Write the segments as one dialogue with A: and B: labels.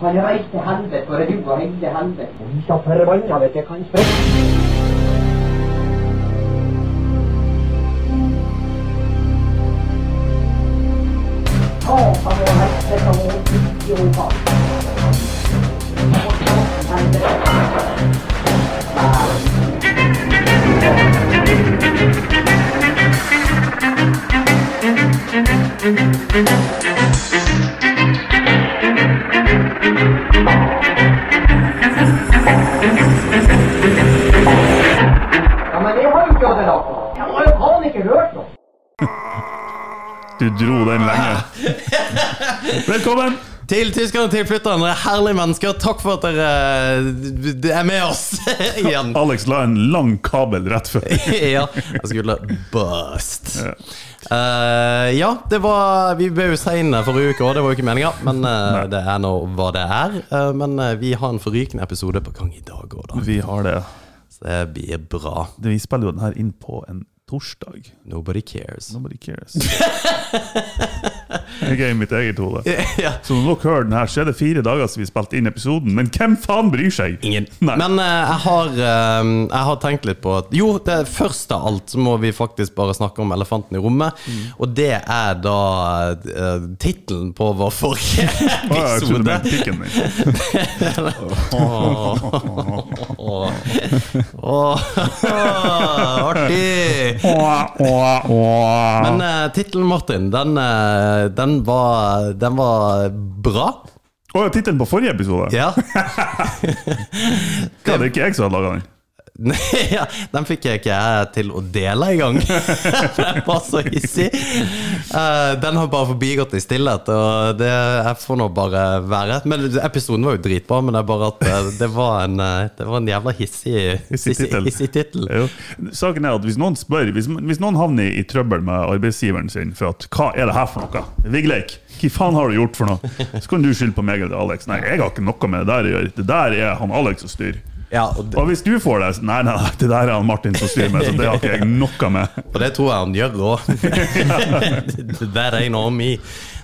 A: Kan jeg reise til helvete, for du har reist til helvete. Så forbanna vet jeg kanskje. Ja, men jeg har jo ikke hatt det nok. Jeg har jo faen ikke hørt noe.
B: Du dro den lenge. Velkommen!
C: Til tyskerne og tilflytterne, dere er herlige mennesker. Takk for at dere d- d- er med oss igjen.
B: Alex la en lang kabel rett før.
C: ja, jeg skulle bust. Eh, ja, det var Vi ble jo seine forrige uke, og det var jo ikke meninga. Men eh, det er nå hva det er. Eh, men eh, vi har en forrykende episode på gang i dag òg, da.
B: Vi har det.
C: Så det blir bra.
B: Det- Vi spiller jo den her inn på en torsdag.
C: Nobody cares.
B: Nobody cares. Jeg er i mitt eget hode.
C: ja.
B: Så når dere hører den her, så er det fire dager siden vi spilte inn episoden, men hvem faen bryr seg?
C: Ingen.
B: Nei.
C: Men eh, jeg, har, eh, jeg har tenkt litt på at Jo, det er først av alt så må vi faktisk bare snakke om elefanten i rommet. Og det er da uh, tittelen på vår forrige
B: Å, jeg trodde det
C: episode.
B: var pikken min.
C: Åh. Åh. Åh. Artig!
B: Åh, åh, åh.
C: Men uh, tittelen, Martin, den, eh, den, var, den var bra.
B: Å, ja, tittelen på forrige episode?
C: Ja.
B: Ja, det er ikke jeg som har laga den.
C: Nei, ja, den fikk jeg ikke jeg til å dele engang. den var så hissig. Eh, den har bare forbigått i stillhet, og det jeg får nå bare være. Men Episoden var jo dritbra, men det er bare at eh, det var en, eh, det var en jævla hissig
B: Hissig tittel.
C: hissig tittel.
B: Jo. Saken er at hvis noen spør Hvis, hvis noen havner i trøbbel med arbeidsgiveren sin for at hva er det her for noe? Vigleik, hva faen har du gjort for noe? Så kan du skylde på meg eller Alex. Nei, jeg har ikke noe med det der å gjøre. Det der er han Alex som styrer.
C: Ja, og, det,
B: Og hvis du får det så- Nei, nei, nei, det der er han Martin som styrer med, så det har ikke jeg noe med.
C: og det tror jeg han gjør òg. That ain't on me.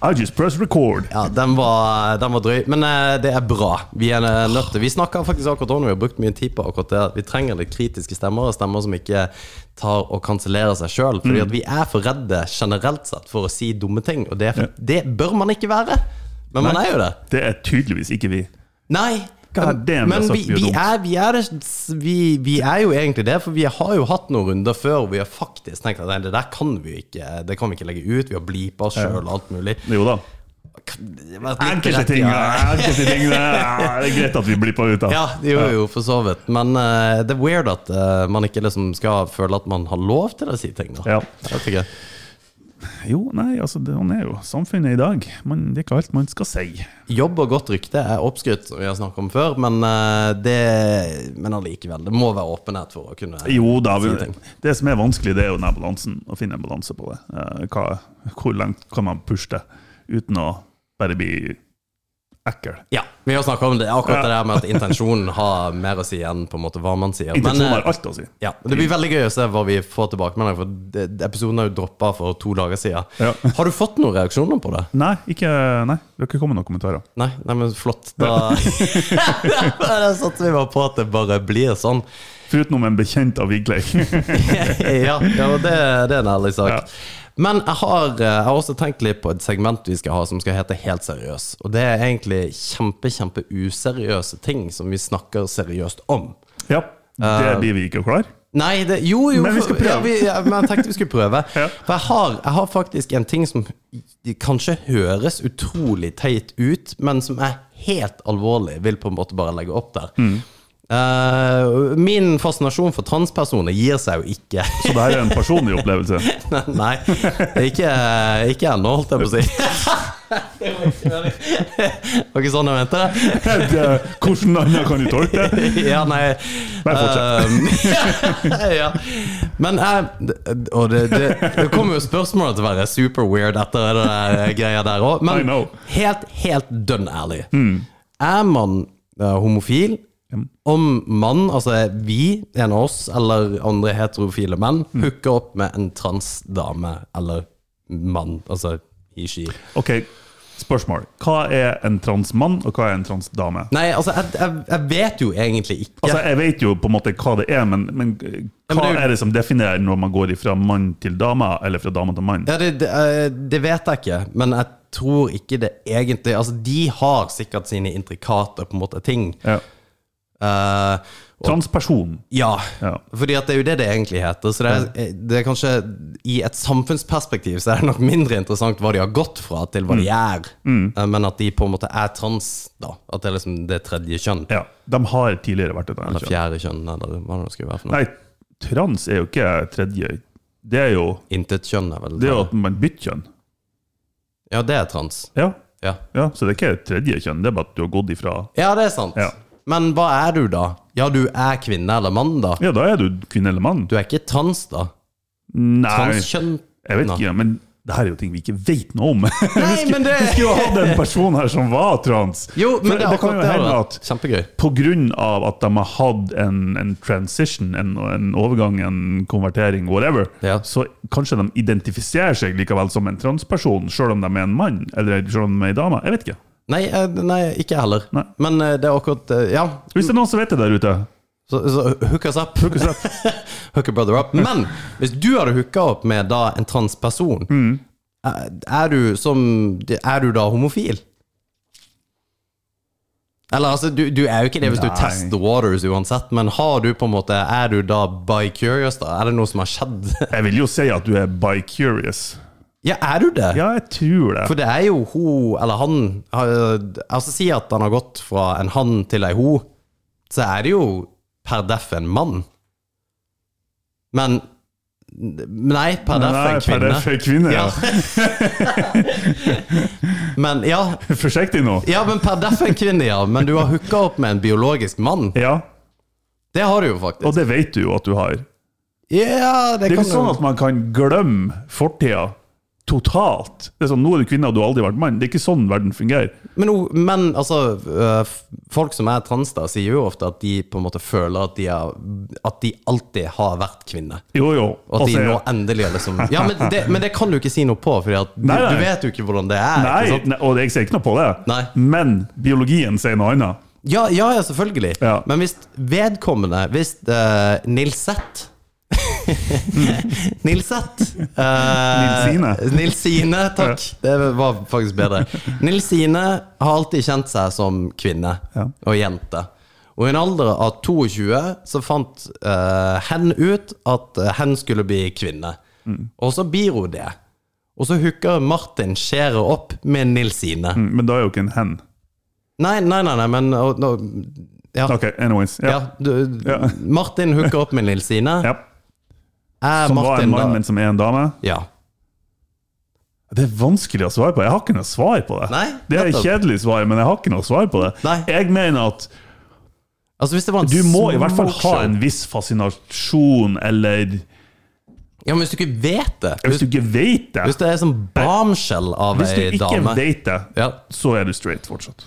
B: I just press record.
C: Ja, den var, den var drøy, men eh, det er bra. Vi er eh, nødt til Vi snakker faktisk akkurat om det, vi har brukt mye tid på akkurat det. at Vi trenger litt kritiske stemmer, og stemmer som ikke tar og kansellerer seg sjøl. Fordi
B: Mm.
C: at vi er for redde generelt sett for å si dumme ting, og det, er- det bør man ikke være. Men man er jo det.
B: Det er tydeligvis ikke vi.
C: Nei.
B: God damn,
C: Men
B: jeg har
C: vi,
B: sagt mye
C: vi,
B: dumt.
C: er, vi, er, det- vi, vi er jo egentlig det, for vi har jo hatt noen runder før hvor vi har faktisk tenkt at nei, det der kan vi ikke Det kan vi ikke legge ut. Vi har bleepa oss sjøl og alt mulig.
B: Jo da.
C: Det var et litt
B: Enkelte
C: rett,
B: ting,
C: ja.
B: enkelte ting det er det er greit at vi blipper ut av.
C: Ja, jo, jo, for så vidt. Men eh, det er weird at eh, man ikke liksom skal føle at man har lov til å si ting. da.
B: Ja.
C: Jeg vet ikke.
B: Jo, nei, altså, det, han er jo samfunnet i dag. Man, det er ikke alt man skal si.
C: Jobb og godt rykte er oppskrytt, som vi har snakket om før, men, eh, det, men allikevel. Det må være åpenhet for å kunne
B: Jo da, vi,
C: si ting.
B: det som er vanskelig, det er jo den her balansen. Å finne en balanse på det. Eh, Hva, hvor langt kan man pushe det uten å bare bli ekkel?
C: Ja, vi har snakket om det, akkurat
B: Ja.
C: det der med at intensjonen har mer å si enn på en måte hva man sier. Men,
B: Intensjonen
C: eh,
B: har alt å si.
C: ja, det blir veldig gøy å se hva vi får tilbakemeldinger for det- episoden har jo droppa for to dager siden.
B: Ja.
C: Har du fått noen reaksjoner på det?
B: Nei, ikke, nei, det har ikke kommet noen kommentarer.
C: Nei, nei, men flott. Da Da satser vi bare på at det bare blir sånn.
B: Foruten om en bekjent av Vigleik.
C: ja, ja og det, det er en ærlig sak.
B: Ja.
C: Men jeg har, eh, jeg har også tenkt litt på et segment vi skal ha som skal hete Helt seriøs. Og det er egentlig kjempe, kjempe useriøse ting som vi snakker seriøst om.
B: ja,
C: Eh.
B: det blir vi ikke klar.
C: Nei, det, jo, jo.
B: Men vi skal
C: for- Ja,
B: prøve.
C: vi, ja, men jeg tenkte vi skulle prøve.
B: Ja.
C: For jeg har, jeg har faktisk en ting som kanskje høres
B: Mm.
C: utrolig teit ut, men som er helt alvorlig. Vil på en måte bare legge opp der. Eh, min fascinasjon for transpersoner gir seg jo ikke.
B: Så det her er en personlig opplevelse.
C: Nei, ikke, ikke ennå, holdt jeg på å si. Det var ikke meningen. Det var ikke sånn jeg mente det.
B: Det- Hvordan annet kan du tolke det?
C: Ja, nei
B: Nei,
C: Eh, ja. Men jeg Og det, det, det kommer jo spørsmål til å være super weird etter det der eh, greia der òg,
B: I
C: men
B: know. Mm.
C: helt, helt dønn ærlig. Er man eh, homofil om mann, altså vi, en av oss, eller andre heterofile menn,
B: Mm.
C: hooker opp med en transdame eller mann, altså i ski?
B: Ok, spørsmål. Hva er en transmann, og hva er en transdame?
C: Nei, altså, jeg, jeg, jeg vet jo egentlig ikke.
B: Altså, Jeg vet jo på en måte hva det er, men, men
C: Ja, men
B: hva
C: det er jo-
B: er det som definerer når man går fra mann til dame, eller fra dame til mann?
C: Ja, det, det, eh, det vet jeg ikke, men jeg tror ikke det egentlig Altså, de har sikkert sine intrikate på en måte ting.
B: Ja.
C: Eh, og,
B: Transperson.
C: ja.
B: Ja.
C: fordi at det er jo det det egentlig heter. Så det er, eh, det er kanskje I et samfunnsperspektiv så er det nok mindre interessant hva de har gått fra, til hva de
B: Mm.
C: er. Eh, men at de på en måte er trans, da. At det er liksom det tredje kjønn.
B: Ja, De har tidligere vært et annet
C: Eller
B: kjønn.
C: fjerde kjønn, eller hva det skulle være for noe.
B: Nei, trans er jo ikke tredje. Det er jo
C: Intet kjønn er vel
B: det er jo at man bytter kjønn.
C: Ja, det er trans.
B: Ja.
C: Ja.
B: ja, Så det er ikke et tredje kjønn, det er bare at du har gått ifra
C: Ja, det er sant.
B: Ja.
C: Men hva er du, da? Ja, du er kvinne eller mann, da.
B: Ja, da er du kvinne eller mann.
C: Du er ikke trans, da?
B: Nei,
C: Transkjønn?
B: jeg vet ikke, men det her er jo ting vi ikke vet noe om.
C: Nei, men det
B: Vi skulle jo hatt en person her som var trans.
C: Jo,
B: For
C: men det er
B: kan jo
C: akkurat det.
B: hende
C: da.
B: at
C: Kjempegøy.
B: på grunn av at de har hatt en, en transition, en, en overgang, en konvertering, whatever,
C: Ja.
B: så kanskje de identifiserer seg likevel som en transperson, selv om de er en mann, eller selv om de er en dame. Jeg vet ikke.
C: Nei, eh, nei, ikke jeg heller.
B: Nei.
C: Men eh, det er akkurat eh, Ja.
B: Hvis det er noen som vet det der ute,
C: Så, så hook us up.
B: ikke sant?
C: Hook a brother up. Men hvis du hadde hooka opp med da en transperson,
B: Mm.
C: eh, er du som Er du da homofil? Eller altså, du, du er jo ikke det hvis du
B: Nei.
C: test the waters uansett, men har du på en måte Er du da bi-curious, da? Er det noe som har skjedd?
B: jeg vil jo si at du er bi-curious.
C: ja, er du det?
B: Ja, jeg tror det.
C: For det er jo hun, eller han har- Altså, si at han har gått fra en han til ei ho, så er det jo per deff en mann. Men Nei, per deff
B: Nei,
C: en
B: for det
C: kvinne.
B: er for kvinner, ja.
C: men ja,
B: Forsiktig nå.
C: ja, men per deff en kvinne, ja. Men du har hooka opp med en biologisk mann.
B: Ja,
C: Det har du jo faktisk.
B: og det vet du jo at du har.
C: ja, det,
B: Det er
C: kan
B: ikke sånn
C: du
B: at man kan glemme fortida totalt. Det er sånn, Nå er du kvinne, og du har aldri vært mann. Det er ikke sånn verden fungerer.
C: Men, o- men altså, øh, f- folk som er trans, da, sier jo ofte at de på en måte føler at de, er, at de alltid har vært kvinne.
B: Jo, jo.
C: Og at
B: Altså,
C: de nå endelig er liksom Ja, men det, men det kan du ikke si noe på, for du,
B: Nei, nei.
C: du vet jo ikke hvordan det er.
B: Nei,
C: Ikke sant?
B: nei, og jeg ser ikke noe på det.
C: Nei.
B: Men biologien sier noe annet.
C: Ja, ja, ja, selvfølgelig.
B: Ja.
C: Men hvis vedkommende Hvis uh, Nilseth
B: Mm.
C: Nilseth Eh,
B: Nilsine.
C: Nilsine, takk. Det var faktisk bedre. Nilsine har alltid kjent seg som kvinne
B: Ja.
C: og jente. Og i en alder av 22 så fant eh, hen ut at eh, hen skulle bli kvinne.
B: Mm.
C: Og så blir hun det. Og så hooker Martin skjæret opp med Nilsine.
B: Mm, Men da er jo ikke en hen.
C: Nei, nei, nei, nei, men og, nå- ja.
B: Ok, anyways.
C: Ja,
B: Ja.
C: du,
B: Ja.
C: Martin hooker opp med Nils Sine.
B: Ja.
C: Er
B: Som var
C: Martin
B: en mann,
C: da
B: men som er en dame.
C: Ja.
B: Det er vanskelig å svare på. Jeg har ikke noe svar på det.
C: Nei,
B: det er et
C: nettopp.
B: kjedelig svar, men jeg har ikke noe svar på det.
C: Nei.
B: Jeg mener at
C: Altså, hvis det var en
B: du må i hvert fall
C: smoke
B: ha
C: show.
B: en viss fascinasjon, eller
C: Ja, men hvis du ikke vet det
B: Hvis
C: Hvis,
B: du ikke vet det
C: hvis det er sånn bombshell av
B: Hvis du
C: ei
B: ikke
C: dame
B: vet det,
C: Ja.
B: så er du straight fortsatt.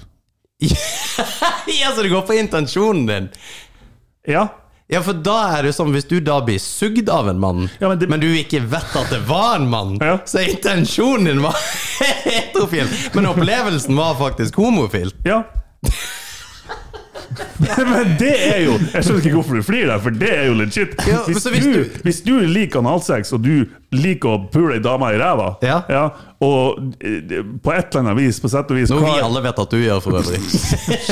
C: ja, så det går på intensjonen din!
B: Ja.
C: Ja, for da er det sånn, hvis du da blir sugd av en mann,
B: Ja, men det-
C: du ikke vet at det var en mann,
B: Ja.
C: så intensjonen din var heterofil, men opplevelsen var faktisk homofil.
B: Ja. Men det er jo Jeg skjønner ikke hvorfor du flirer der, for det er jo legit.
C: Ja, men
B: Hvis
C: så hvis
B: du,
C: du-
B: hvis du liker analsex, og du liker å pule ei dame i ræva,
C: Ja.
B: og eh, på et eller annet vis, på sett og vis
C: Noe vi
B: hva-
C: alle vet at du gjør, for øvrig.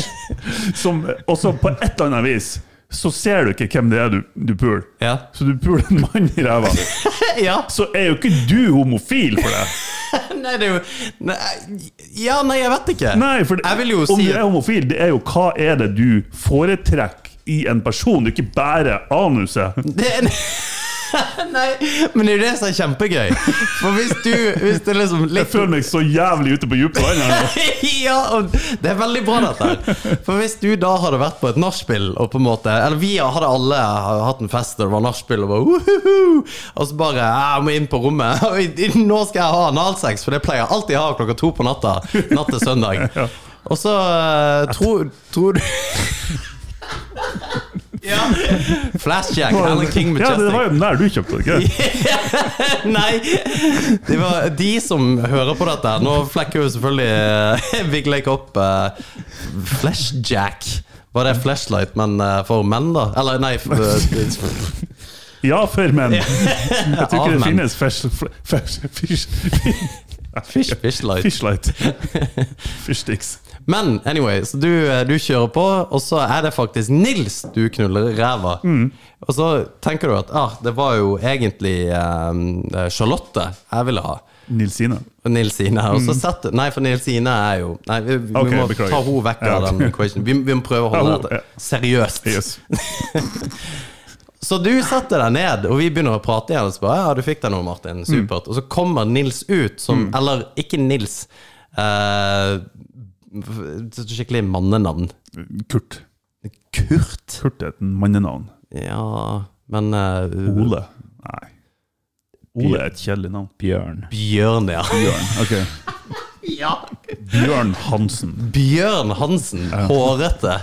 B: som, også på et eller annet vis, så ser du ikke hvem det er du, du puler.
C: Ja.
B: Så du puler en mann i ræva.
C: ja.
B: Så er jo ikke du homofil for det.
C: Nei, det er jo nei, Ja, nei, jeg vet ikke.
B: Nei, for det,
C: jeg vil jo
B: om
C: si
B: du er homofil, det er jo hva er det du foretrekker i en person, ikke bare anuset.
C: Det er Nei, men det er jo det som er kjempegøy. For hvis du Hvis det liksom
B: Jeg føler meg så jævlig ute på dypt vann her nå.
C: ja, og det er veldig bra dette her. For hvis du da hadde vært på et nachspiel, og på en måte Eller vi hadde alle hatt en fest og det var nachspiel, og bare «Woohoo!» Og så bare «Ah, Jeg må inn på rommet. Og i- i- Nå skal jeg ha analsex, for det pleier jeg alltid å ha klokka to på natta. Natt til søndag. Og så eh, tror, tror du Ja. Flashjack. Henrik King med
B: Ja, det
C: chestnut.
B: var jo den der du kjøpte, ikke sant?
C: Nei! Det var de som hører på dette. Nå flekker jo selvfølgelig eh, Big Lake opp eh, Flashjack. Var det flashlight, men eh, for menn, da? Eller nei f- eh,
B: Ja, for menn. Jeg tror ikke
C: Av
B: det
C: menn.
B: finnes fish... fish... fish...
C: Fish, fishlight.
B: Fishlight. Fishsticks.
C: Men anyway, så du, eh, du kjører på, og så er det faktisk Nils du knuller i ræva. Og så tenker du at ah, det var jo egentlig eh, Charlotte jeg ville ha.
B: Nilsine.
C: Nilsine her. Og så setter, nei, for Nilsine er jo Nei, vi, vi
B: Mm. Ok,
C: må
B: beklager.
C: ta henne vekk av
B: Ja.
C: den equation. Vi, vi må prøve å holde
B: Ja, hun- ja.
C: dette seriøst.
B: Yes.
C: Så du setter deg ned, og vi begynner å prate igjen. Og så bare, ja, du fikk deg noe,
B: Mm.
C: Martin. Supert. Og så kommer Nils ut som Eller ikke Nils. eh, skikkelig mannenavn.
B: Kurt.
C: Kurt?
B: Kurt er et mannenavn.
C: Ja Men eh,
B: Ole. Nei. Ole er et kjedelig navn.
D: Bjørn.
C: Bjørn, ja.
B: Bjørn. Ok. Bjørn Hansen.
C: Bjørn Hansen. Hårete.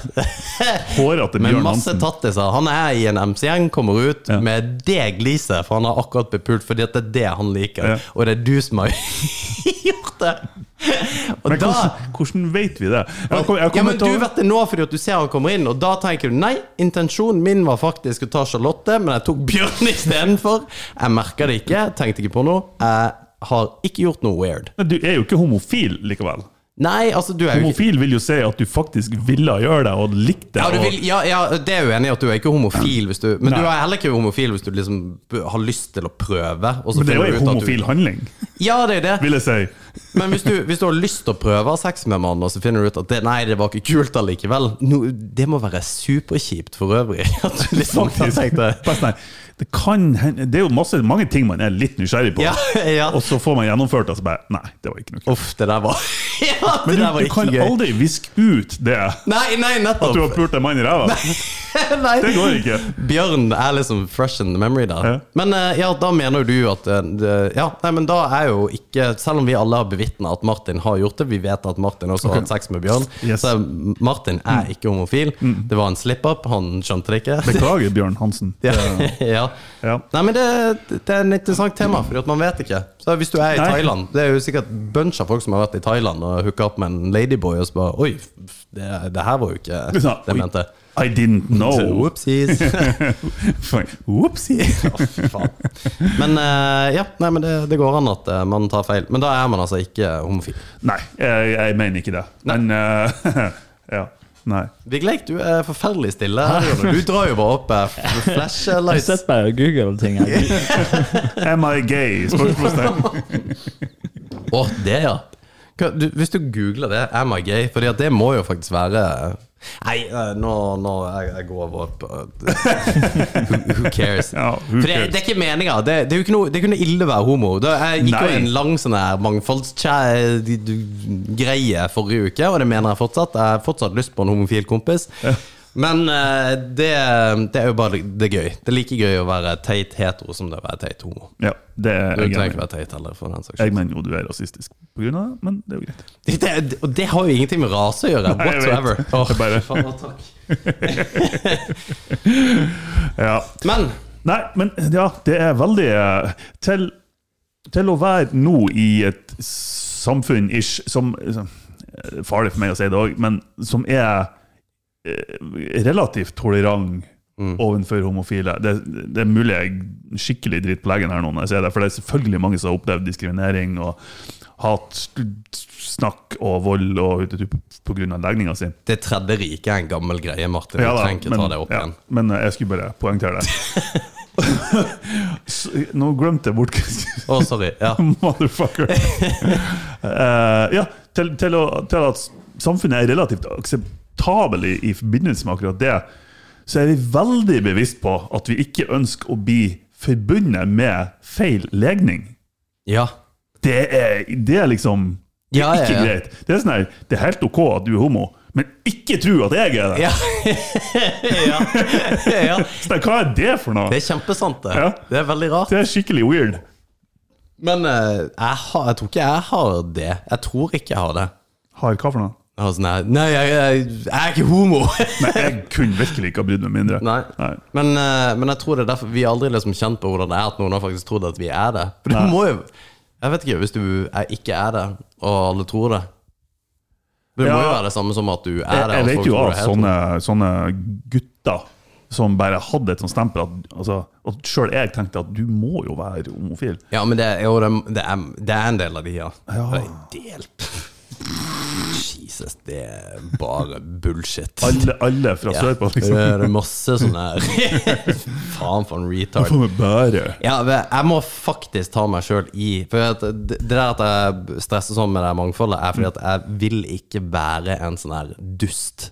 B: Hårete
C: Med
B: Bjørn
C: masse
B: Hansen.
C: tattiser. Han er i en MC-gjeng, kommer ut med det gliset, for han har akkurat blitt pult, fordi at det er det han liker.
B: Ja.
C: Og det er du som har gjort det! Og
B: Men
C: da
B: hvordan, hvordan vet vi det? Jeg har kom- jeg har
C: ja, men
B: kommet
C: Du
B: til å-
C: vet det nå fordi at du ser han kommer inn, og da tenker du nei, intensjonen min var faktisk å ta Charlotte, men jeg tok Bjørn istedenfor. Jeg merker det ikke, tenkte ikke på noe. Jeg har ikke gjort noe weird.
B: Men du er jo ikke homofil likevel.
C: Nei, altså, du er jo ikke
B: Homofil vil jo si at du faktisk ville gjøre det og likte det.
C: ja, du vil,
B: og-
C: ja, ja, det er jo enig i at du er ikke homofil, hvis du, men du
B: Nei.
C: er heller ikke homofil hvis du liksom b- har lyst til å prøve. Og så
B: Men det er
C: finner du ut
B: jo en
C: at du-
B: homofil handling,
C: Ja, det er jo det.
B: vil jeg si.
C: Men hvis du, hvis du har lyst til å prøve å ha sex med mannen, og så finner du ut at det, nei, det var ikke kult allikevel no, Det må være superkjipt for øvrig. At du liksom har tenkt det.
B: Best nei. sånn Det, kan, hende- det er jo masse, mange ting man er litt nysgjerrig på,
C: Ja, ja.
B: og så får man gjennomført det, og så bare Nei, det var ikke noe. kult.
C: Uff, det der var Ja, det
B: Men du,
C: der var
B: du
C: ikke
B: kan
C: gøy.
B: aldri viske ut det
C: Nei, nei,
B: at du har
C: nettopp.
B: pult en mann i ræva.
C: Nei.
B: Det går ikke.
C: Bjørn er liksom fresh in the memory der.
B: Ja.
C: Men eh, ja, da mener du at eh, det- Ja, nei, men da er jo ikke Selv om vi alle har bevitna at Martin har gjort det, vi vet at Martin også har hatt sex med Bjørn,
B: Yes. Mm.
C: så Martin er ikke homofil. Det var en slip-up, han skjønte det ikke.
B: Beklager, Bjørn Hansen.
C: Ja. ja.
B: Ja.
C: Nei, men det, det er en interessant tema, for man vet ikke. Så Hvis du er i
B: Nei.
C: Thailand Det er jo sikkert bunch av folk som har vært i Thailand og hooka opp med en ladyboy, og så bare Oi, f- det, det her var jo ikke det
B: Ja,
C: jeg
B: oi.
C: mente.
B: I didn't know.
C: Oopsies.
B: Whoopsie.
C: Faen. Men eh, ja, nei, men det, det går an at eh, man tar feil. Men da er man altså ikke homofil.
B: Nei, jeg, jeg mener ikke det. Men eh, Ja. Nei.
C: Vigleik, du er forferdelig stille. her, Jonny. Du drar jo bare opp eh, f-
D: Jeg
C: flashlights.
D: sitter bare og googler ting. Jeg.
B: Am I gay? Spørsmålstegn.
C: Å, det, ja. Hva- Du, hvis du googler det, am I gay? Fordi at det må jo faktisk være Nei, eh, nå, nå jeg, jeg går over på who, who cares?
B: Ja, who
C: For det,
B: cares?
C: det er ikke meninga. Det, det, er jo ikke noe- det kunne ille være homo. Da, jeg gikk jo
B: Nei.
C: en lang sånn her mangfoldsgreie forrige uke, og det mener jeg fortsatt. Jeg har fortsatt lyst på en homofil kompis. Men eh, det, det er jo bare det, det er gøy. Det er like gøy å være teit hetero som det er å være teit homo.
B: Ja, det er
C: Du
B: jeg
C: trenger ikke
B: enig i.
C: være teit heller, for den saks skyld.
B: Jeg mener jo du er rasistisk på grunn av det, men det er jo greit.
C: Det, det, og det har jo ingenting med rase å gjøre.
B: Nei, jeg
C: whatsoever.
B: vet.
C: Åh,
B: Jeg bare-
C: faen, å, takk.
B: Ja.
C: Men
B: Nei, men ja, det er veldig eh, Til, til å være nå i et samfunn-ish som som- eh, Farlig for meg å si det òg, men som er eh, relativt tolerant overfor homofile. Det, det er mulig jeg er skikkelig dritt på leggen her nå når jeg sier det, for det er selvfølgelig mange som har opplevd diskriminering og hat, snakk og vold og pga. legninga si.
C: det tredje riket er en gammel greie, Martin.
B: Ja
C: du
B: da,
C: trenger ikke ta det opp
B: ja,
C: igjen.
B: Men eh, jeg skulle bare poengtere det. Så, Nå glemte jeg bort hva jeg skulle
C: Å, sorry. Ja.
B: Motherfucker. Eh, ja, til, til, å, til at samfunnet er relativt akseptabel i, i forbindelse med akkurat det, så er vi veldig bevisst på at vi ikke ønsker å bli forbundet med feil legning.
C: Ja.
B: Det er, det er liksom Det er
C: Ja, ja,
B: ikke
C: ja.
B: greit. Det er sånn her, det er helt ok at du er homo, men ikke tro at jeg er det!
C: Ja. ja. ja.
B: Så Hva er det for noe?
C: Det er kjempesant, det.
B: Ja.
C: Det er veldig rart.
B: Det er skikkelig weird.
C: Men eh, jeg, har, jeg tror ikke jeg har det. Jeg tror ikke jeg har det.
B: Har hva for noe?
C: Jeg har sånn her Nei, jeg, jeg, jeg er ikke homo!
B: Nei, jeg kunne virkelig ikke ha brydd meg mindre.
C: Nei. Men, eh, men jeg tror det er derfor vi har aldri liksom kjent på hvordan det er at noen har faktisk trodd at vi er det. For det
B: Nei.
C: må jo Jeg vet ikke, hvis du er, ikke er det, og alle tror det Det må
B: Ja.
C: jo være det samme som at du er
B: Jeg,
C: det. og
B: jeg
C: folk
B: vet
C: tror
B: jo av
C: det er helt
B: sånne, sånne gutter som bare hadde et sånt stempel at altså, og sjøl jeg tenkte at du må jo være homofil.
C: Ja, men det, er- jo, det, er- det, er, det er en del av de, ja.
B: Ja.
C: Det er en del. Jesus, det er bare bullshit.
B: Alle, alle fra sørpå,
C: Det
B: liksom.
C: er masse sånne her Faen for en retard.
B: For meg bare.
C: Ja, men jeg må faktisk ta meg sjøl i For at det det der at jeg stresser sånn med det mangfoldet, er fordi at jeg vil ikke være en sånn her dust.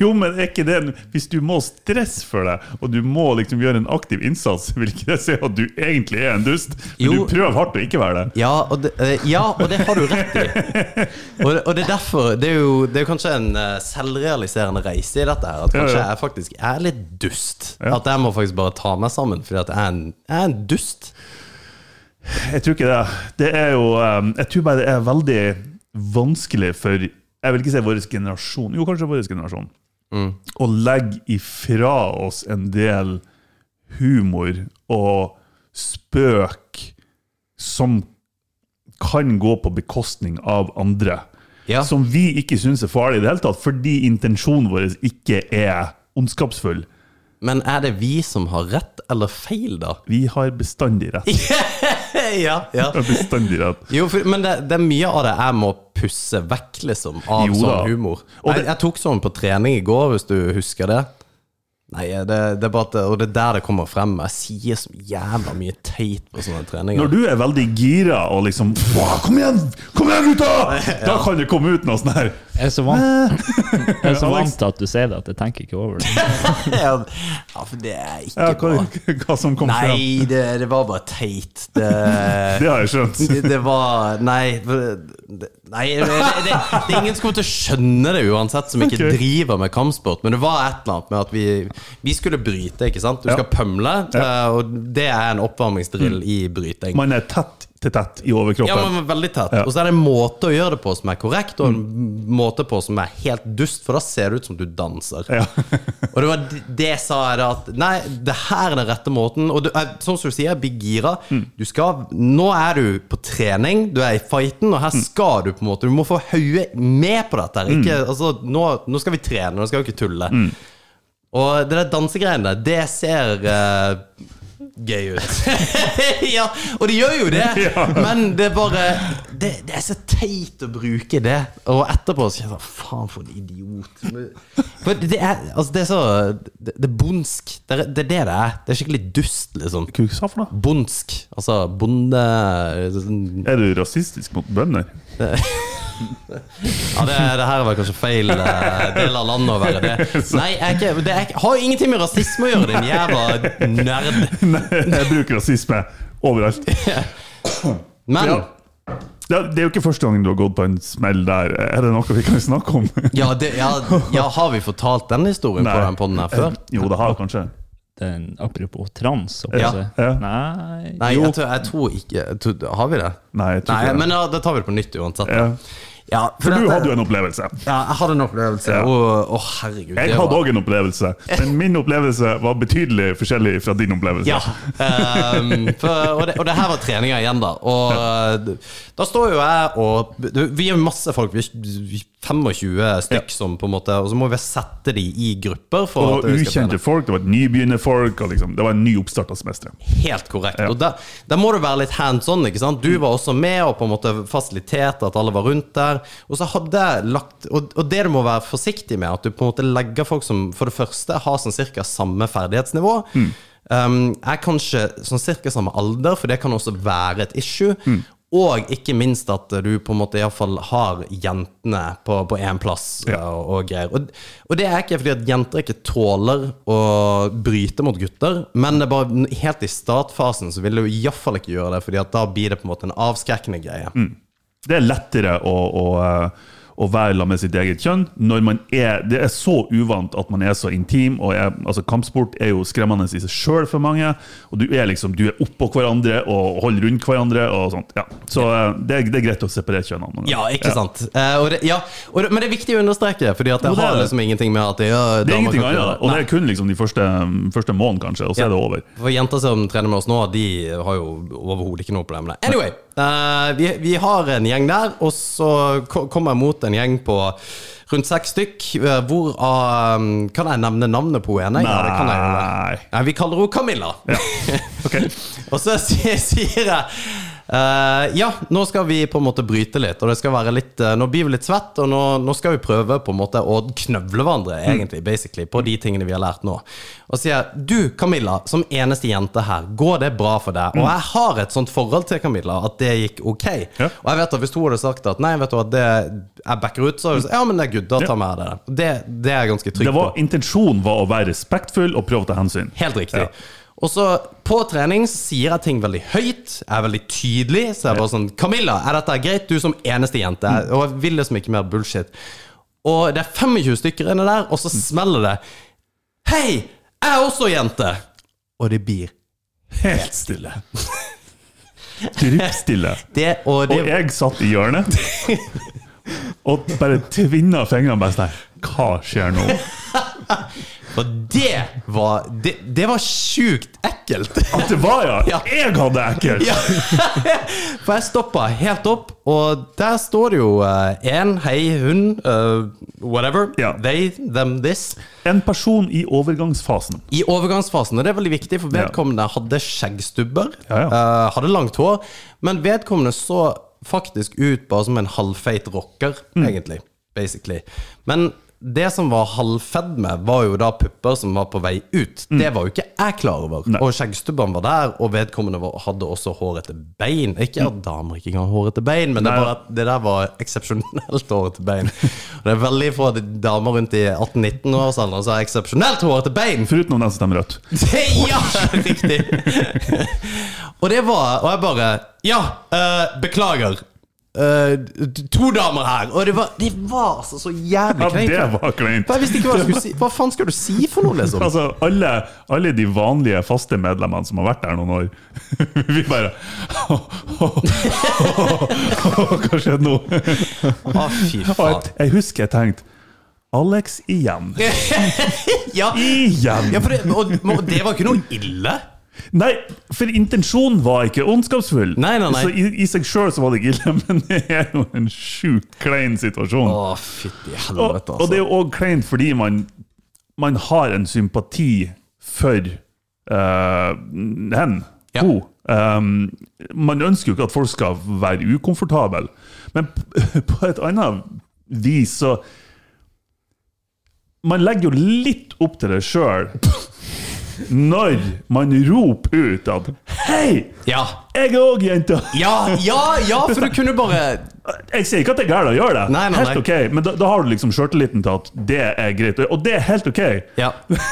B: Jo, men er ikke det en- Hvis du må stresse for deg, og du må liksom gjøre en aktiv innsats, vil ikke det si at du egentlig er en dust? Men
C: Jo.
B: du prøver hardt å ikke være det.
C: Ja, og det, eh, ja, og det har du rett i. Og, og det er derfor Det er jo, det er jo kanskje en eh, selvrealiserende reise i dette her. At
B: Ja, ja.
C: kanskje jeg faktisk er litt dust.
B: Ja.
C: At jeg må faktisk bare ta meg sammen, fordi at jeg er en, jeg er en dust.
B: Jeg tror ikke det. Det er jo um, Jeg tror bare det er veldig vanskelig for Jeg vil ikke si vår generasjon, jo, kanskje vår generasjon, å legge ifra oss en del humor og spøk som kan gå på bekostning av andre.
C: Ja.
B: Som vi ikke syns er farlig i det hele tatt, fordi intensjonen vår ikke er ondskapsfull.
C: Men er det vi som har rett eller feil, da?
B: Vi har bestandig rett.
C: ja, ja.
B: Vi har Bestandig rett.
C: Jo, for, men det, det er mye av det jeg må pusse vekk, liksom, av
B: Jo da.
C: sånn humor.
B: Og
C: jeg,
B: det-
C: jeg tok sånn på trening i går, hvis du husker det. Nei, det, det er bare at, Og det er der det kommer frem. Jeg sier så jævla mye teit på sånne
B: Når
C: treninger.
B: du er veldig gira og liksom «Åh, Kom igjen, kom igjen, gutta! Da kan det komme ut noe sånn her.
D: Jeg er så vant, jeg er så
B: Alex.
D: vant til at du sier det, at jeg tenker ikke over det.
C: Ja, for det er ikke
B: Ja, hva,
C: bra.
B: hva som kom frem.
C: Nei, det, det var bare teit. Det,
B: Det har jeg skjønt.
C: det, det var Nei. det- nei det, det, det er ingen som kommer til å skjønne det uansett, som ikke
B: Ok.
C: driver med kampsport. Men det var et eller annet med at vi, vi skulle bryte, ikke sant. Du
B: Ja. Mm.
C: skal pømle, eh, og det er en oppvarmingsdrill i bryting.
B: Man er tett til tett i
C: Ja,
B: overkroppen.
C: men veldig tett. Og så er det en måte å gjøre det på som er korrekt, og en måte på som er helt dust, for da ser det ut som du danser.
B: Ja.
C: Og det var d- det sa jeg da at Nei, det her er den rette måten. Og du, eh, sånn som du sier, bli gira.
B: Mm.
C: Du skal, nå er du på trening, du er i fighten, og her
B: Mm.
C: skal du på en måte Du må få hodet med på dette. her ikke,
B: Mm.
C: altså, nå, nå skal vi trene, nå skal vi ikke tulle. Og det der dansegreiene der, det ser eh, gøy ut. ja, og det gjør jo det,
B: Ja.
C: men det er bare det, det er så teit å bruke det. Og etterpå så kjenner jeg sånn Faen, for en idiot. For det er, altså, det er så Det, det er bondsk. Det er det er det det er. Det er skikkelig dust, liksom.
B: Hva sa du for noe?
C: Bondsk. Altså bonde sånn-
B: Er du rasistisk mot bønder?
C: Ja, det, det her var kanskje feil eh, del av landet å være det. Nei, jeg er ikke, det er, ikke- har jo ingenting med rasisme å gjøre, din jævla nerd.
B: Nei, jeg bruker rasisme overalt. Det,
C: Men
B: Ja. det er jo ikke første gangen du har gått på en smell der. Er det noe vi kan snakke om?
C: Ja, det, ja, ja, har vi fortalt den historien på
B: Nei.
C: den podden her før?
B: Jo, det har jeg kanskje.
D: Den, apropos trans, holdt
C: Ja.
D: jeg på å si.
B: Ja.
D: Nei,
C: Nei, jeg tror, jeg tror ikke jeg tror, Har vi det?
B: Nei, jeg tror
C: Nei,
B: ikke det.
C: men ja, da tar vi det på nytt uansett.
B: Ja.
C: Ja,
B: For du hadde jo en opplevelse.
C: Ja, jeg hadde en opplevelse.
B: Ja.
C: Å, å, herregud. det
B: Jeg
C: var-
B: hadde òg en opplevelse, men min opplevelse var betydelig forskjellig fra din opplevelse.
C: Ja. ehm, for, og, det, og det her var treninga igjen, da. Og eh, da står jo jeg og du, Vi er masse folk, vi er 25 stykk, som på en måte Og så må vi sette de i grupper. For
B: Og
C: at vi skal trene.
B: ukjente folk, det var et nybegynner folk, og liksom, det var en ny oppstart av semesteret.
C: Helt korrekt. Og der, der må du være litt hands on. ikke sant? Du var også med og på en måte fasiliterte at alle var rundt der. Og så hadde jeg lagt, og, og det du må være forsiktig med, at du på en måte legger folk som for det første har sånn cirka samme ferdighetsnivå. Um, er kanskje sånn cirka samme alder, for det kan også være et issue. Og ikke minst at du på en måte iallfall har jentene på én plass
B: Ja.
C: og, og greier. Og, og det er ikke fordi at jenter ikke tåler å bryte mot gutter, men det er bare n- helt i startfasen så vil du iallfall ikke gjøre det, Fordi at da blir det på en måte en avskrekkende greie.
B: Mm. Det er lettere å, å, eh, å være sammen med sitt eget kjønn når man er Det er så uvant at man er så intim, og er, altså kampsport er jo skremmende i seg sjøl for mange. Og du er liksom Du er oppå hverandre og holder rundt hverandre og sånt. Ja. Så eh, det, er- det er greit å separere kjønnene. noen ganger.
C: Ja, ikke sant? Eh, og det, ja, og det, men det er viktig å understreke, Fordi at det
B: Jo, det er
C: har
B: det.
C: liksom ingenting med at det, ja,
B: Det er
C: damer
B: ingenting
C: kan ikke gjøre
B: annet, og det
C: Nei.
B: er kun liksom de første, første måneden, kanskje, og så er det over.
C: For jenter som trener med oss nå, de har jo overhodet ikke noe problem med det. Anyway, eh, vi, vi har en gjeng der, og så ko- kommer jeg mot en gjeng på rundt seks stykk. eh, Hvor av Kan jeg nevne navnet på henne? Ja, det kan jeg gjøre.
B: Nei.
C: Nei, vi kaller henne Camilla.
B: Ok.
C: Og så sier, sier jeg eh, ja, nå skal vi på en måte bryte litt, og det skal være litt eh, Nå blir vi litt svett, og nå, nå skal vi prøve på en måte å knøvle hverandre,
B: Mm.
C: egentlig, basically, på de tingene vi har lært nå. Og sier jeg, du Camilla, som eneste jente her, går det bra for deg? Og jeg har et sånt forhold til Camilla at det gikk ok.
B: Mm. Ja.
C: Og jeg vet at hvis hun hadde sagt at nei, vet du hva, det, jeg backer ut, så hadde hun sagt ja, men det er good, da
B: Ja.
C: tar vi av det. det. Det er jeg ganske trygg
B: Det
C: på.
B: var, intensjonen var å være respektfull og prøve å ta hensyn.
C: Helt riktig.
B: Ja.
C: Og så på trening så sier jeg ting veldig høyt, jeg er veldig tydelig. Så jeg er bare sånn Camilla, er dette greit? Du som eneste jente.
B: Mm.
C: Og jeg vil liksom ikke mer bullshit. Og det er 25 stykker inne der, og så
B: Mm.
C: smeller det. Hei, jeg er også jente! Og det blir
B: Helt stille. Dryppstille.
C: det, og det
B: Og jeg satt i hjørnet og bare tvinna fingrene bare sånn her. Hva skjer nå?
C: Og det var Det, det var sjukt ekkelt.
B: At det var, ja!
C: Ja.
B: Jeg hadde det ekkelt!
C: Ja. For jeg stoppa helt opp, og der står det jo én, hei, hun, eh, whatever.
B: Ja.
C: They, them, this.
B: En person i overgangsfasen.
C: I overgangsfasen, og det er veldig viktig, for vedkommende hadde skjeggstubber,
B: Ja,
C: eh, hadde langt hår, men vedkommende så faktisk ut bare som en halvfeit rocker,
B: Mm.
C: egentlig, basically. Men det som var halvfedd med, var jo da pupper som var på vei ut.
B: Mm.
C: Det var jo ikke jeg klar over. Og skjeggstubbene var der, og vedkommende var, hadde også hårete bein. Ikke at damer ikke kan ha hårete bein, men det,
B: Mm. Nei.
C: er bare at det der var eksepsjonelt hårete bein. Og det er veldig få damer rundt i 18-19-årsalderen som har sånn, altså, eksepsjonelt hårete bein.
B: Foruten om den som stemmer rødt.
C: Ja, riktig! og det var Og jeg bare Ja, eh, beklager. Eh, to damer her. Og det var, det var altså så
B: Ja,
C: jævlig kleint.
B: det var kleint.
C: For Jeg visste ikke hva jeg skulle si. Hva faen skal du si for noe, liksom?
B: Altså, alle, alle de vanlige faste medlemmene som har vært der noen år, vi bare Hva skjedde nå?
C: Å, Ah, fy
B: Og jeg,
C: faen.
B: jeg husker jeg tenkte Alex igjen.
C: Ja,
B: Igjen!
C: ja for det, og, og det var ikke noe ille.
B: Nei, for intensjonen var ikke ondskapsfull.
C: Nei, nei, nei.
B: Så i, i seg sjøl så var det ikke ille, men det er jo en sjukt klein situasjon.
C: Å, fytti
B: og,
C: helvete,
B: og
C: altså.
B: det er jo òg kleint fordi man, man har en sympati for eh, hen.
C: Ja.
B: Ho. Um, man ønsker jo ikke at folk skal være ukomfortable, men p- på et annet vis så Man legger jo litt opp til det sjøl når man roper ut at Hei,
C: Ja.
B: jeg er òg jente!
C: ja, ja, ja, for du kunne bare
B: Jeg sier ikke at det er galt å gjøre det,
C: Nei, nei,
B: helt
C: nei.
B: ok, men da, da har du liksom sjøltilliten til at det er greit, og det er helt ok.
C: Ja.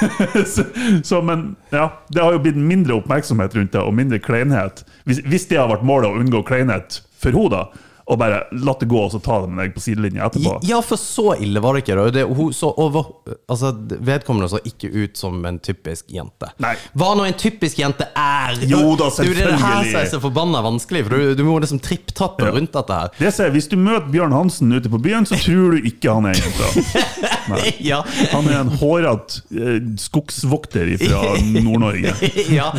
B: så, så, men ja, det har jo blitt mindre oppmerksomhet rundt det, og mindre kleinhet. Hvis, hvis det har vært målet å unngå kleinhet for henne, da, og bare latt det gå, og så ta det med deg på sidelinja etterpå.
C: Ja, for så ille var det ikke. da. Det, hun så over, altså, vedkommende så ikke ut som en typisk jente.
B: Nei.
C: Hva nå en typisk jente er!
B: Jo da,
C: Det er jo det her
B: selvfølgelig.
C: som er så forbanna vanskelig, for du, du må liksom tripptrappe
B: Ja.
C: rundt dette her.
B: Det sier, jeg, Hvis du møter Bjørn Hansen ute på byen, så tror du ikke han er en jente.
C: Ja.
B: Han er en hårete eh, skogsvokter fra Nord-Norge.
C: ja.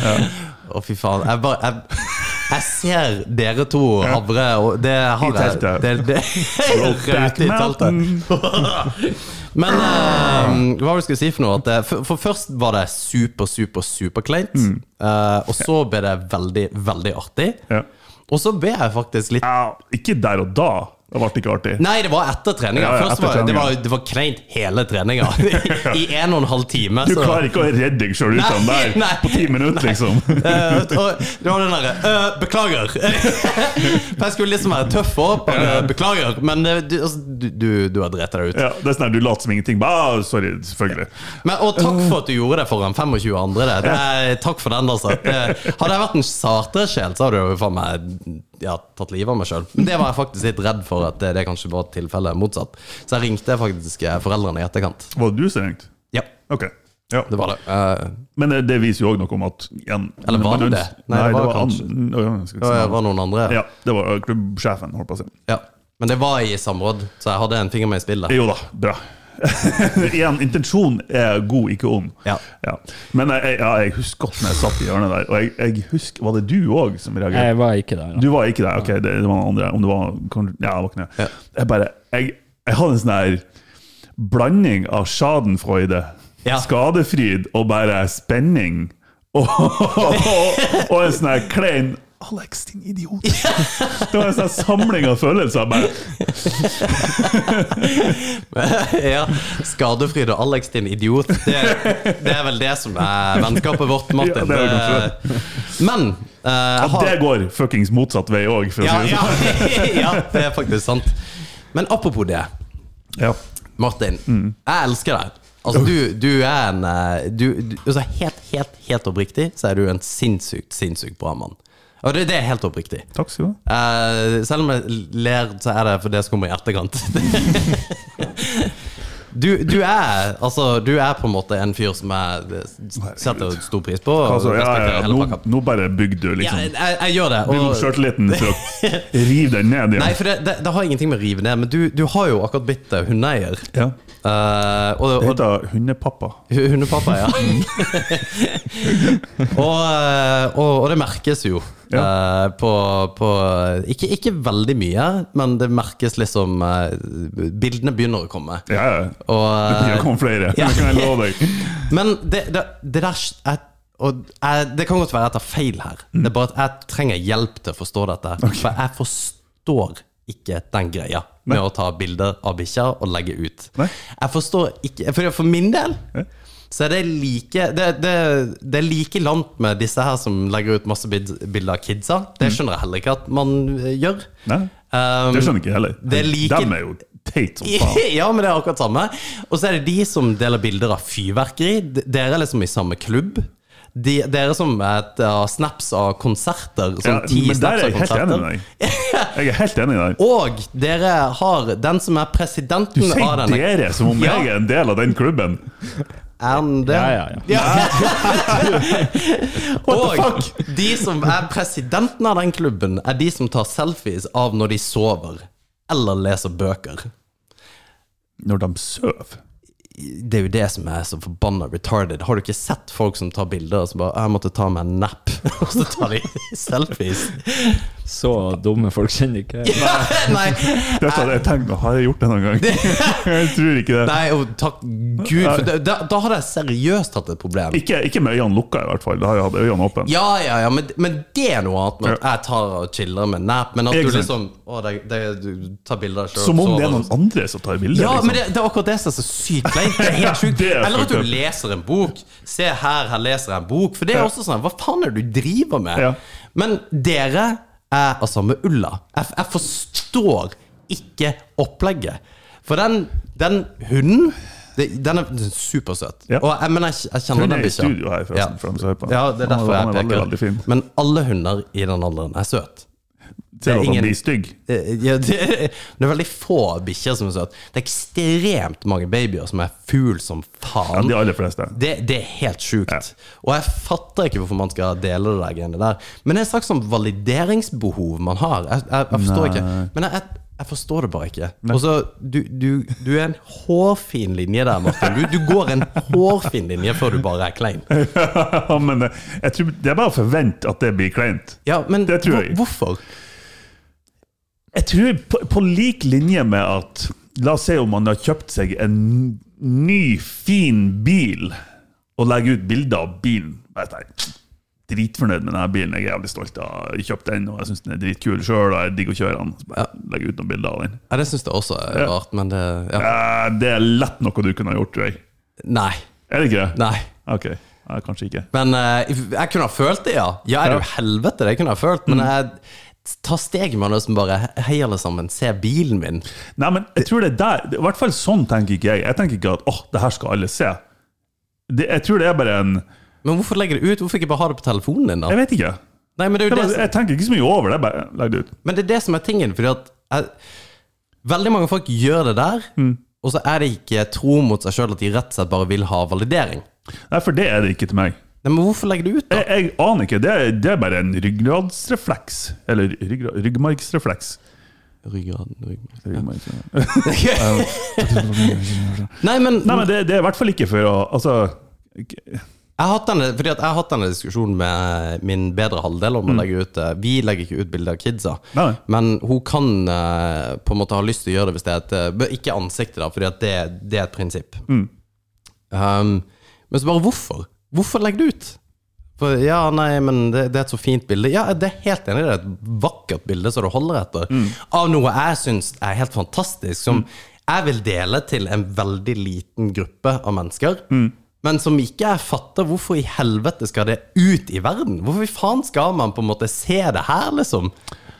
C: Å, fy faen. Jeg bare jeg, jeg ser dere to havre, og det har
B: I
C: jeg.
B: teltet.
C: Det, det,
B: Brokeback
C: Raute i teltet. Men eh, hva var det jeg skulle si for noe? At det, for, for først var det super, super, super kleint. Eh, og så ble det veldig, veldig artig.
B: Mm. Ja.
C: Og så ble jeg faktisk litt
B: Ja, ikke der og da, Det ble ikke artig.
C: Nei, det var etter treninga.
B: Ja, ja,
C: Først
B: etter
C: var det,
B: treninga.
C: var, det var kleint hele treninga. I en og en halv time.
B: Du
C: så-
B: klarer ikke å redde deg sjøl ut av den
C: Nei,
B: der
C: nei,
B: på ti minutter, liksom.
C: Eh, og det var den derre eh, 'Beklager'. For jeg skulle liksom være tøff og opp. eh, 'Beklager', men eh, du, altså, du, du, du har drept deg ut.
B: Ja, det er sånn her, Du later som ingenting. Bah, sorry, selvfølgelig.
C: Men, og takk for at du gjorde det foran 25 andre. Det, det, er- takk for den, altså. Det, hadde jeg vært en sartere sjel, så hadde jeg jo faen meg ja, tatt livet av meg sjøl. Men det var jeg faktisk litt redd for at det, det kanskje var tilfellet motsatt. Så jeg ringte faktisk eh, foreldrene i etterkant.
B: Var det du som ringte?
C: Ja,
B: Ok. Ja.
C: det var det. Eh,
B: Men det, det viser jo òg noe om at igjen,
C: Eller var
B: man
C: det
B: øns-
C: det? Nei, det var kanskje-
B: an- Å, ja, skal
C: det
B: vi si.
C: var noen andre.
B: ja, det var eh, klubbsjefen, holdt på å si.
C: Ja. Men det var i samråd, så jeg hadde en finger med i spillet.
B: Jo da, bra. Igjen, intensjon er god, ikke ond.
C: Ja.
B: Men jeg, jeg- ja, jeg husker godt når jeg satt i hjørnet der, og jeg, jeg husker Var det du òg som reagerte?
D: Jeg var ikke der.
B: Du
D: Da.
B: var ikke der? Ok, det, det var noen andre. Om det var kan- Ja, det var
C: Ja.
B: ikke det. Jeg bare Jeg, jeg hadde en sånn her blanding av schadenfreude,
C: Ja.
B: skadefryd og bare spenning. Og, og, og en sånn her klein Alex, din idiot! Det var en sånn her samling av følelser. Bare,
C: ja. Skadefryd og Alex, din idiot. Det, det er vel det som er vennskapet vårt, Martin.
B: Ja, det er
C: Men eh, jeg
B: ja,
C: har-
B: det går fuckings motsatt vei òg, for å
C: ja,
B: si det
C: ja,
B: sånn.
C: ja, det er faktisk sant. Men apropos det,
B: Ja.
C: Martin.
B: Mm.
C: Jeg elsker deg. Altså, du, du er en eh, du, du, altså, Helt, helt, helt oppriktig så er du en sinnssykt, sinnssykt bra mann. Og det, det er helt oppriktig.
B: Takk skal du ha.
C: Eh, selv om jeg ler, så er det for det som kommer i etterkant. Du, du er altså Du er på en måte en fyr som jeg setter stor pris på. Og
B: Altså, ja, ja,
C: respekterer
B: ja,
C: hele
B: nå,
C: pakka.
B: nå bare bygger du
C: ja,
B: liksom
C: jeg, jeg gjør det.
B: Bygger opp
C: Og,
B: sjøltilliten for å rive den
C: nei,
B: ned igjen.
C: for det, det, det har ingenting med å rive ned, men du, du har jo akkurat blitt eh, hundeeier.
B: Ja.
C: Eh, og,
B: Det
C: og
B: heter hundepappa.
C: Hu- Hundepappa, ja. og, eh, og, og det merkes jo. eh, på, på ikke, ikke veldig mye, men det merkes liksom eh, Bildene begynner å komme.
B: Ja, ja.
C: Og,
B: Det kommer flere,
C: Eh, Ja.
B: det kan jeg love deg.
C: men det, det, det der jeg, og jeg, Det kan godt være at jeg tar feil her.
B: Mm.
C: Det er bare at jeg trenger hjelp til å forstå dette. For jeg forstår ikke den greia med å ta bilder av bikkja og legge ut.
B: Nei.
C: Jeg forstår ikke For, for min del så er det like det, det, det er like langt med disse her som legger ut masse bid- bilder av kidsa. Det skjønner jeg heller ikke at man eh, gjør.
B: Mm. Nei,
C: Um,
B: det skjønner jeg ikke heller.
C: det er like-
B: Dem er jo teit som faen.
C: ja, men det er akkurat samme. Og så er det de som deler bilder av fyrverkeri. D- Dere er liksom i samme klubb. De, dere som eh, tar snaps av konserter.
B: Ja,
C: Sånn ti
B: men der
C: snaps av
B: er jeg helt enig
C: konserter.
B: med deg. Jeg er helt enig med deg.
C: Og dere har den som er
B: Du
C: presidenten av
B: sier
C: denne
B: dere som om
C: Ja.
B: jeg er en del av den klubben.
C: Er han det?
D: Ja, ja, ja.
C: Og de som er presidenten av den klubben, er de som tar selfies av når de sover. Eller leser bøker.
B: Når de sover.
C: Det er jo det som er så forbanna retarded. Har du ikke sett folk som tar bilder og så bare 'Jeg måtte ta meg en napp', og så tar de selfies?
D: Så dumme folk kjenner ikke jeg.
C: Nei,
B: Dette hadde sånn jeg tenkt, har jeg gjort det noen gang? Jeg tror ikke det.
C: nei og takk gud, for det, da, da hadde jeg seriøst hatt et problem.
B: Ikke, ikke med øynene lukka, i hvert fall. Da har jeg hatt øynene åpne.
C: Ja, ja, ja, men, men det er noe annet. Men at jeg tar og chiller med napp, men at du
B: Ikke sant.
C: liksom å, det, det, Du tar bilder av deg selv
B: Som om
C: og
B: det er
C: sover.
B: noen andre som tar bilder.
C: Ja, men
B: liksom.
C: det, det er akkurat det som er så sykt kleint. Det er helt sjukt.
B: det er
C: Eller at du
B: fucked up.
C: leser en bok. Se her, her leser jeg en bok. For det er også sånn Hva faen er det du driver med?
B: Ja.
C: Men dere er av samme ulla. Jeg, jeg forstår ikke opplegget. For den, den hunden det, Den er supersøt.
B: Ja.
C: Og jeg, men jeg, jeg kjenner
B: Hun
C: den
B: er i
C: bikkja.
B: studio her, forresten, for dem som hører på.
C: Ja, det er
B: Han er-
C: derfor
B: han
C: jeg
B: er veldig,
C: peker.
B: veldig fin.
C: Men alle hunder i den alderen er søte.
B: Ser du at
C: ingen-
B: han blir stygg?
C: Eh, Ja, det, det er veldig få bikkjer som er søte. Det er ekstremt mange babyer som er fugl som
B: Ja,
C: faen.
B: de aller fleste.
C: det, det er helt sjukt. Og jeg fatter ikke hvorfor man skal dele det der greiene der. Men det er et slags sånn valideringsbehov man har. Jeg, jeg, jeg forstår ikke. Men jeg, jeg, jeg forstår det bare ikke. Og så, du, du, du er en hårfin linje der, Martin. Du, du går en hårfin linje før du bare er klein.
B: Ja, men eh, jeg tror det er bare å forvente at det blir kleint.
C: Ja, men
B: Det tror jeg.
C: hvor- hvorfor?
B: Jeg tror på, på lik linje med at La oss si om man har kjøpt seg en ny, fin bil og legger ut bilder av bilen. Vet jeg, dritfornøyd med denne bilen. Jeg er jævlig stolt av Jeg kjøpte den, og jeg syns den er dritkul sjøl, og jeg digger å kjøre den. Så bare Legger ut noen bilder av den.
C: Ja, det syns jeg også er rart, men det ja.
B: Eh, Det er lett noe du kunne ha gjort, tror jeg.
C: Nei.
B: Er det ikke det?
C: Nei.
B: Ok, Nei, kanskje ikke.
C: Men eh, jeg kunne ha følt det, ja. Ja, Mm. er det jo helvete, det kunne jeg ha følt. Men jeg tar steget med nesten bare Hei, alle sammen, se bilen min.
B: Nei, men jeg tror det er der I hvert fall sånn tenker ikke jeg. Jeg tenker ikke at åh, det her skal alle se. Det, jeg tror det er bare en
C: Men hvorfor legge det ut? Hvorfor ikke bare ha det på telefonen din, da?
B: Jeg vet ikke.
C: Nei, men det er
B: Det
C: jo
B: er
C: det
B: bare,
C: som
B: jeg tenker ikke så mye over det. Bare legg det ut.
C: Men det er det som er tingen, fordi at jeg, veldig mange folk gjør det der, og så er det ikke tro mot seg sjøl at de rett og slett bare vil ha validering.
B: Nei, for det er det ikke til meg.
C: Nei, men hvorfor legge det ut, da?
B: Jeg, jeg aner ikke. Det, er- det er bare en ryggradsrefleks. Eller ryggra, ryggmargsrefleks.
C: Ryggraden, ryggraden.
B: Ryggmargsrefleks.
C: Nei, men,
B: Nei, men det, det er i hvert fall ikke for å Altså ikke-
C: Jeg, har hatt denne, fordi at jeg har hatt denne diskusjonen med min bedre halvdel om å legge ut eh, Vi legger ikke ut bilder av kidsa,
B: Mm. Nei.
C: men hun kan eh, på en måte ha lyst til å gjøre det hvis det er et eh, bør- Ikke ansiktet, da, fordi at det, det er et prinsipp.
B: Mm.
C: Um, men så bare hvorfor? Hvorfor legger du ut? For, ja, nei, men det, det er et så fint bilde. Ja, det er helt enig, det er et vakkert bilde som du holder etter. Av noe jeg syns er helt fantastisk, som jeg vil dele til en veldig liten gruppe av mennesker. Men som ikke jeg fatter, hvorfor i helvete skal det ut i verden? Hvorfor i faen skal man på en måte se det her, liksom?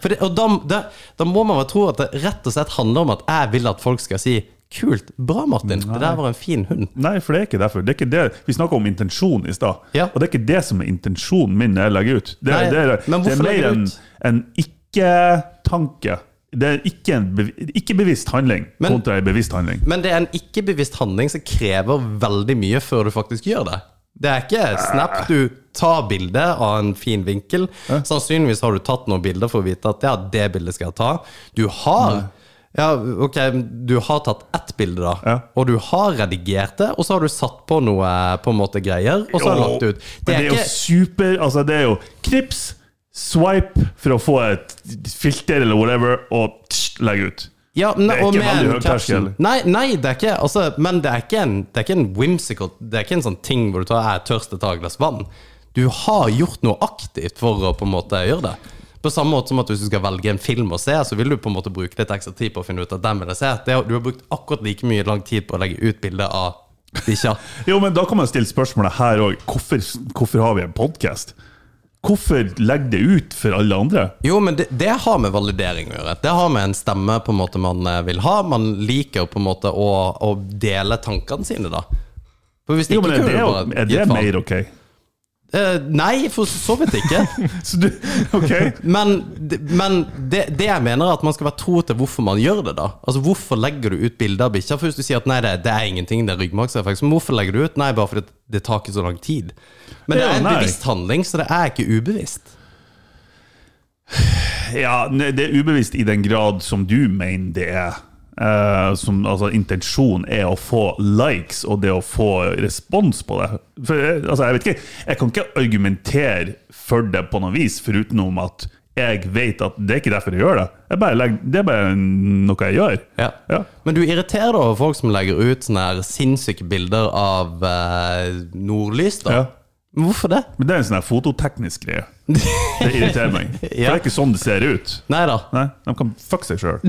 C: For det, og da, da, da må man vel tro at det rett og slett handler om at jeg vil at folk skal si Kult. Bra, Martin. Det der var en fin hund.
B: Nei, for det er ikke derfor. Det er ikke det. Vi snakka om intensjon i stad,
C: Ja.
B: og det er ikke det som er intensjonen min når jeg legger ut. Det,
C: Nei,
B: er- det, er,
C: men
B: det
C: hvorfor
B: er
C: legger du
B: mer en,
C: ut?
B: en ikke-tanke. Det er ikke en bevi- ikke bevisst handling
C: Men-
B: kontra en bevisst handling.
C: Men det er en ikke-bevisst handling som krever veldig mye før du faktisk gjør det. Det er ikke snap. Du tar bilde av en fin vinkel. Sannsynligvis har du tatt noen bilder for å vite at ja, det bildet skal jeg ta. Du har ja, ok, du har tatt ett bilde, da,
B: Ja.
C: og du har redigert det. Og så har du satt på noe på en måte greier, og så har du lagt det ut.
B: Men det er jo super Altså, det er jo knips, swipe for å få et filter eller whatever, og tsk, legge ut.
C: Ja, men,
B: Det er
C: og
B: ikke
C: med en
B: veldig høy terskel.
C: caption. Nei, nei, det er ikke altså, Men det er ikke, en, det er ikke en whimsical Det er ikke en sånn ting hvor du tar jeg er tørst et glass vann. Du har gjort noe aktivt for å på en måte gjøre det. På samme måte som at hvis du skal velge en film å se, så vil du på en måte bruke litt ekstra tid på å finne ut at den vil jeg se. Det, er- du har brukt akkurat like mye lang tid på å legge ut bilde av bikkja.
B: Jo, men da kan man stille spørsmålet her òg. Hvorfor, hvorfor har vi en podkast? Hvorfor legge det ut for alle andre?
C: Jo, men det, det har med validering å gjøre. Det har med en stemme på en måte man eh, vil ha. Man liker på en måte å, å dele tankene sine, da. For hvis
B: Jo,
C: ikke
B: men Er
C: kunne du
B: det, jo-
C: bare
B: er
C: gitt
B: det
C: faen.
B: mer ok?
C: Eh, nei, for så vidt ikke.
B: Så du, ok
C: Men, d- men det, det jeg mener, er at man skal være tro til hvorfor man gjør det. da Altså Hvorfor legger du ut bilde av bikkja? For Hvis du sier at nei, det, det er ingenting, det er ryggmargsrefleks, men hvorfor legger du ut? Nei, bare fordi det, det tar ikke så lang tid. Men det
B: Ja,
C: er en
B: nei.
C: bevisst handling, så det er ikke ubevisst.
B: Ja, ne- det er ubevisst i den grad som du mener det er. Eh, som, altså, intensjonen er å få likes og det å få respons på det. For, eh, altså, jeg vet ikke, jeg kan ikke argumentere for det på noe vis, foruten om at jeg vet at det er ikke derfor jeg gjør det. Jeg bare legger, det er bare noe jeg gjør.
C: Ja.
B: Ja.
C: Men du irriterer deg over folk som legger ut sånne her sinnssyke bilder av eh, nordlys, da.
B: Ja.
C: Men Hvorfor det?
B: Men det er en sånn her fototeknisk greie. Det irriterer meg. For det er ikke sånn det ser ut.
C: Nei da.
B: Nei, De kan fuck seg sjøl.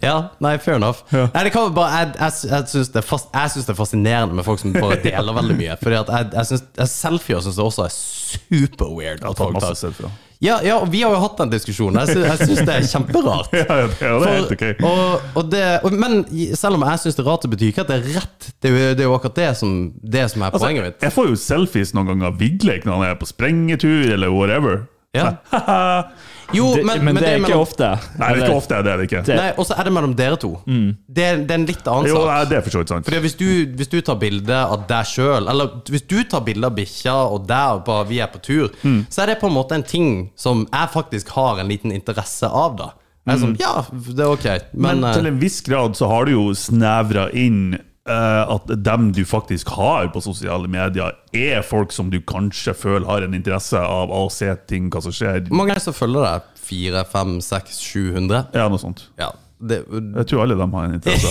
C: Ja, nei, fair enough. Nei, det kan jo bare, jeg jeg, jeg syns det, er fas- jeg synes det er fascinerende med folk som bare deler veldig mye. Fordi at jeg, jeg synes, jeg Selfier syns jeg også er super weird. At folk tar. Ja, ja, og vi har jo hatt den diskusjonen. Jeg syns, jeg synes det er kjemperart.
B: Ja, ja, det er helt ok.
C: For- og, og det, og, men i- selv om jeg syns det er rart, det betyr ikke at det er rett. Det er jo, det er jo akkurat det som, det som
B: Altså,
C: er poenget mitt.
B: Jeg får jo selfies noen ganger av Vigleik når han er på sprengetur eller whatever.
C: Ja.
B: Haha.
C: Jo,
D: Det, men, det er ikke
C: mellom,
D: ofte.
B: Nei, det er ikke ofte det er det ikke.
C: Nei, Og så er det mellom dere to.
D: Mm.
C: Det, er- det er en litt annen
B: Jo,
C: sak.
B: nei, det er for så vidt sant.
C: Fordi hvis du, hvis du tar bilde av deg sjøl, eller hvis du tar bilde av bikkja og der og bare vi er på tur,
D: Mm.
C: så er det på en måte en ting som jeg faktisk har en liten interesse av, da. Jeg er sånn,
D: Mm.
C: ja, det er ok, men, eh,
B: Men eh, til en viss grad så har du jo snevra inn eh, at dem du faktisk har på sosiale medier, er folk som du kanskje føler har en interesse av å se ting, hva som skjer.
C: eh, mange ganger så følger det 400, 500, 600, 700.
B: Ja, noe sånt.
C: Ja. det,
B: Jeg tror alle dem har en interesse.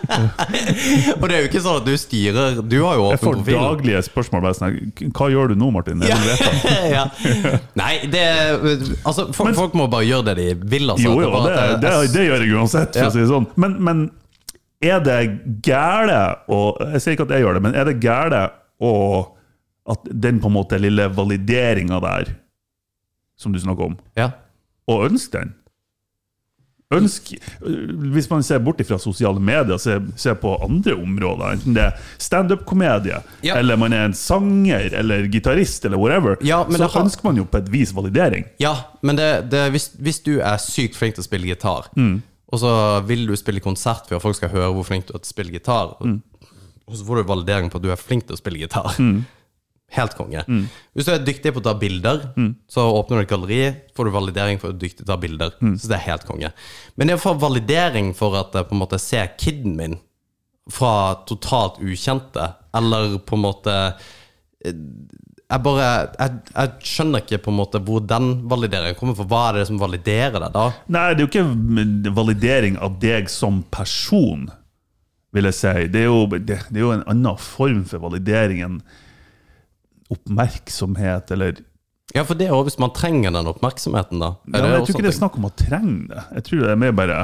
C: Og det er jo ikke sånn at du styrer Du har jo
B: Jeg
C: åpen
B: får
C: profil.
B: daglige spørsmål. Bare sånn, her, Hva gjør du nå, Martin? Jeg vil vite.
C: ja. Nei, det Altså, folk,
B: Men-
C: folk må bare gjøre det de vil, altså.
B: Jo,
C: Det er
B: jo,
C: bare
B: det,
C: at
B: det,
C: jeg-
B: det gjør jeg uansett, for
C: Ja.
B: å si det sånn. Men, men er det gæle å Jeg sier ikke at jeg gjør det, men er det gæle å At den på en måte lille valideringa der, som du snakker om,
C: Ja.
B: å ønske den? Ønsk, hvis man ser bort fra sosiale medier, se, se på andre områder. Enten det er standup-komedie,
C: Ja.
B: eller man er en sanger eller gitarist, eller whatever,
C: Ja, men
B: så
C: det har-
B: ønsker man jo på et vis validering.
C: ja, men det, det, hvis, hvis du er sykt flink til å spille gitar, og så vil du spille konsert for at folk skal høre hvor flink du er til å spille gitar, og så får du validering på at du er flink til å spille gitar. Helt konge. Hvis du er dyktig på å ta bilder, så åpner du et galleri, får du validering for at du er dyktig til å ta bilder. Så det er helt konge. Men det å få validering for at jeg på en måte ser kiden min fra totalt ukjente, eller på en måte eh, Jeg bare Jeg, jeg skjønner ikke på en måte hvor den valideringen kommer fra. Hva er det som validerer deg da?
B: Nei, det er jo ikke validering av deg som person, vil jeg si. Det er jo, det, det er jo en annen form for validering enn oppmerksomhet, eller
C: Ja, for det er jo hvis man trenger den oppmerksomheten, da. Er
B: ja, men Jeg
C: også sånn?
B: tror ikke det er
C: en ting?
B: snakk om å trenge det. Jeg tror det er mer bare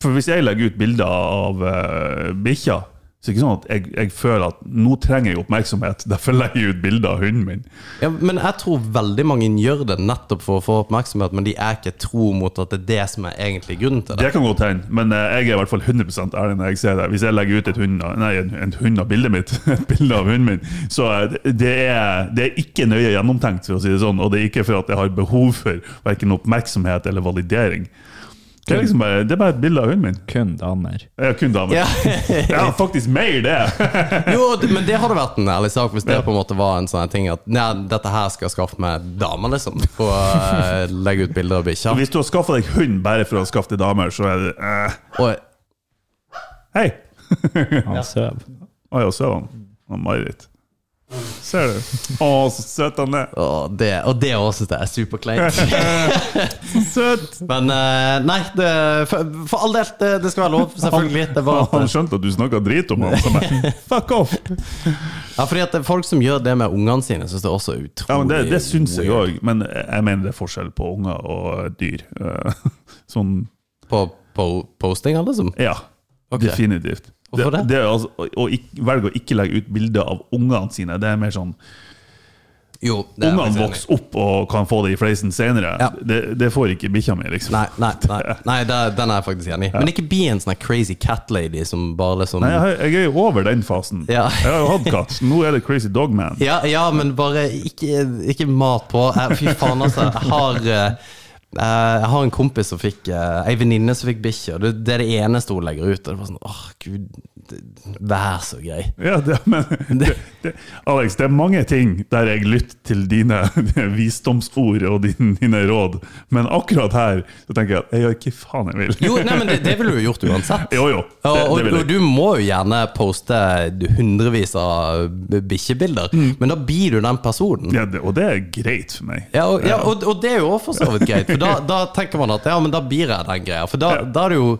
B: For hvis jeg legger ut bilder av eh, bikkja, så er det ikke sånn at jeg, jeg føler at nå trenger jeg oppmerksomhet, derfor legger jeg ut bilder av hunden min.
C: Ja, men jeg tror veldig mange gjør det nettopp for å få oppmerksomhet, men de er ikke tro mot at det er det som er egentlig grunnen til det.
B: Det kan godt hende, men eh, jeg er i hvert fall 100 ærlig når jeg ser det. Hvis jeg legger ut et hund, av- nei, en, en hund av bildet mitt, et bilde av hunden min, så eh, det er det er ikke nøye gjennomtenkt, for å si det sånn. Og det er ikke for at jeg har behov for verken oppmerksomhet eller validering. Det er, liksom bare, det er bare et bilde av hunden min.
D: Kun damer.
B: Jeg er kun dame.
C: Ja.
B: Jeg har faktisk mer det!
C: Jo, d- men det hadde vært en ærlig sak hvis det på en måte var en sånn ting at nei, dette her skal jeg skaffe meg dame, liksom. Og eh, legge ut bilder av bikkja.
B: Hvis du har skaffa deg hund bare for å skaffe deg damer, så er det eh,
C: Og-
B: Hei!
D: Han søv.
B: Å ja, søren. Og Marit. Ser du? Å, så søt han er.
C: Og det, og det også det er superkleint.
B: Søt!
C: Men eh, nei, det, for, for all del, det, det skal være lov, selvfølgelig. Det var
B: Han skjønte at du snakka drit om ham. så bare, Fuck off!
C: ja, fordi at det er folk som gjør det med ungene sine, syns det er også utrolig
B: Ja, men det, det syns jeg
C: weird.
B: òg, men jeg mener det er forskjell på unger og dyr. Eh, Sånn
C: På, på postinga, liksom.
B: Ja,
C: Ok.
B: definitivt.
C: Hvorfor det?
B: det er altså, å, å ikk- velge å ikke legge ut bilder av ungene sine, det er mer sånn
C: Jo, det er jeg
B: Ungene
C: faktisk enig i.
B: vokser opp og kan få det i fleisen senere.
C: Ja.
B: Det, det får ikke bikkja mi, liksom.
C: Nei, nei, nei, nei det- den er jeg faktisk enig i. Men ikke bli en sånn her crazy cat lady som bare liksom
B: Nei, jeg, jeg er jo over den fasen.
C: Ja.
B: Jeg har jo hatt katt. Nå er det Crazy Dog Man.
C: Ja, ja, men bare ikke, ikke mat på. Eh, Fy faen, altså. Jeg har, eh, eh, jeg har en kompis som fikk eh, Ei venninne som fikk bikkje, og det, det er det eneste hun legger ut. Og det var sånn, åh gud, det- vær så grei.
B: Ja, det, men det, det, Alex, det er mange ting der jeg lytter til dine, dine visdomsord og dine, dine råd, men akkurat her så tenker jeg at jeg gjør ikke faen jeg vil.
C: Jo, nei, men det, det ville du gjort uansett.
B: Jo, jo. Det,
C: og,
B: det
C: og,
B: vil
C: og
B: jeg.
C: du må jo gjerne poste hundrevis av b- bikkjebilder, men da blir du den personen.
B: Mm. Ja, det, og det er greit for meg.
C: Ja, og, ja, og, og det er jo også for så vidt greit, for da, da tenker man at ja, men da blir jeg den greia. For da, da er det jo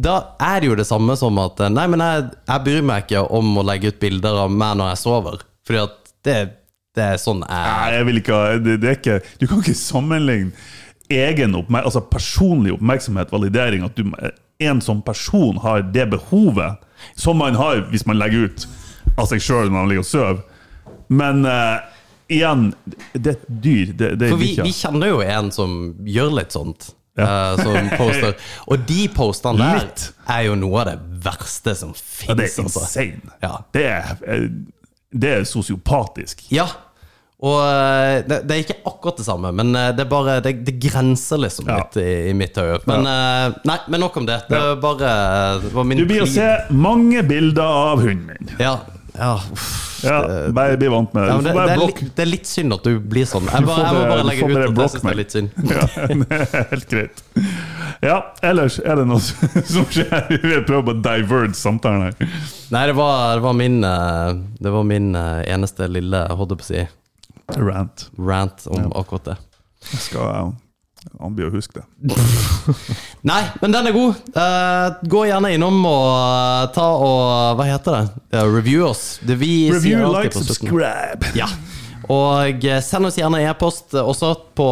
C: da er det jo det samme som at Nei, men jeg, jeg bryr meg ikke om å legge ut bilder av meg når jeg sover, fordi at det, det er sånn jeg
B: Nei, jeg vil ikke ha- det, det er ikke Du kan ikke sammenligne egen oppmerk, altså personlig oppmerksomhet, validering, at du, en som person har det behovet som man har hvis man legger ut av seg sjøl når man ligger og sover. Men eh, igjen, det er et dyr. Det, det er
C: For vi,
B: bikkja.
C: vi kjenner jo en som gjør litt sånt. eh, som poster. Og de postene der
B: Litt.
C: er jo noe av det verste som altså.
B: Ja, det
C: fins.
B: er insane.
C: Ja.
B: Det, er, eh, det er sosiopatisk.
C: Ja. Og eh, det, det er ikke akkurat det samme, men eh, det er bare Det, det grenser liksom
B: Ja.
C: litt i, i mitt øye. Men eh, nei, men nok om det. Det var bare det var min
B: Du blir å
C: plid.
B: se mange bilder av hunden min.
C: Ja. ja, uff.
B: Ja, bare bli vant med
C: Ja, men
B: det.
C: det,
B: Du får
C: det,
B: bare
C: er
B: blokk.
C: litt, det er litt synd at du blir sånn. Jeg, bare,
B: får
C: jeg må
B: bare-
C: bare
B: du
C: legge ut
B: får bare
C: at jeg
B: blokke
C: syns det
B: meg.
C: er litt synd.
B: Ja, det er helt greit. Ja, ellers er det noe som skjer. Vi prøver på å diverge samtalen her.
C: Nei, det var, det var min eh, Det var min eh, eneste lille, jeg holdt på å si,
B: Rant.
C: rant om akkurat det.
B: Jeg skal, Han blir å huske det.
C: Nei, men den er god. Eh, gå gjerne innom og eh, ta og Hva heter det? Eh, review oss. Det vi sier
B: Review,
C: alltid
B: like,
C: på slutten.
B: subscribe!
C: Ja. Og eh, send oss gjerne e-post eh, også på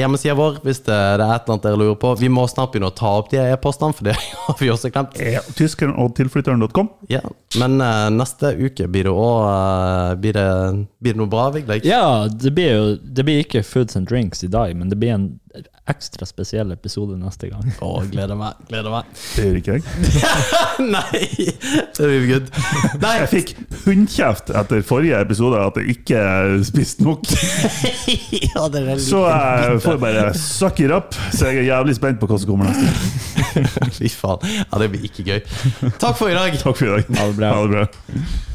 C: hjemmesida vår hvis det det er et eller annet dere lurer på. Vi må snart begynne å ta opp de e-postene, for det har vi også glemt.
B: Ja, Tyskeren og tilflytteren.com.
C: Ja. Men eh, neste uke blir det òg blir, det- blir det noe bra, Vigleik?
D: Ja, det blir jo det blir ikke Foods and Drinks i dag, men det blir en ekstra spesiell episode neste gang.
C: Å, gleder meg. Gleder meg.
B: Det gjør ikke jeg.
C: Nei! Det blir good. Nei,
B: Jeg fikk hundkjeft etter forrige episode at jeg ikke spiste nok.
C: ja, det er
B: Så jeg får bare suck it up. Så jeg er jævlig spent på hva som kommer neste.
C: Fy faen. Ja, det blir ikke gøy. Takk for i dag.
B: Takk for i dag.
D: Ha det bra.
B: Ha det bra.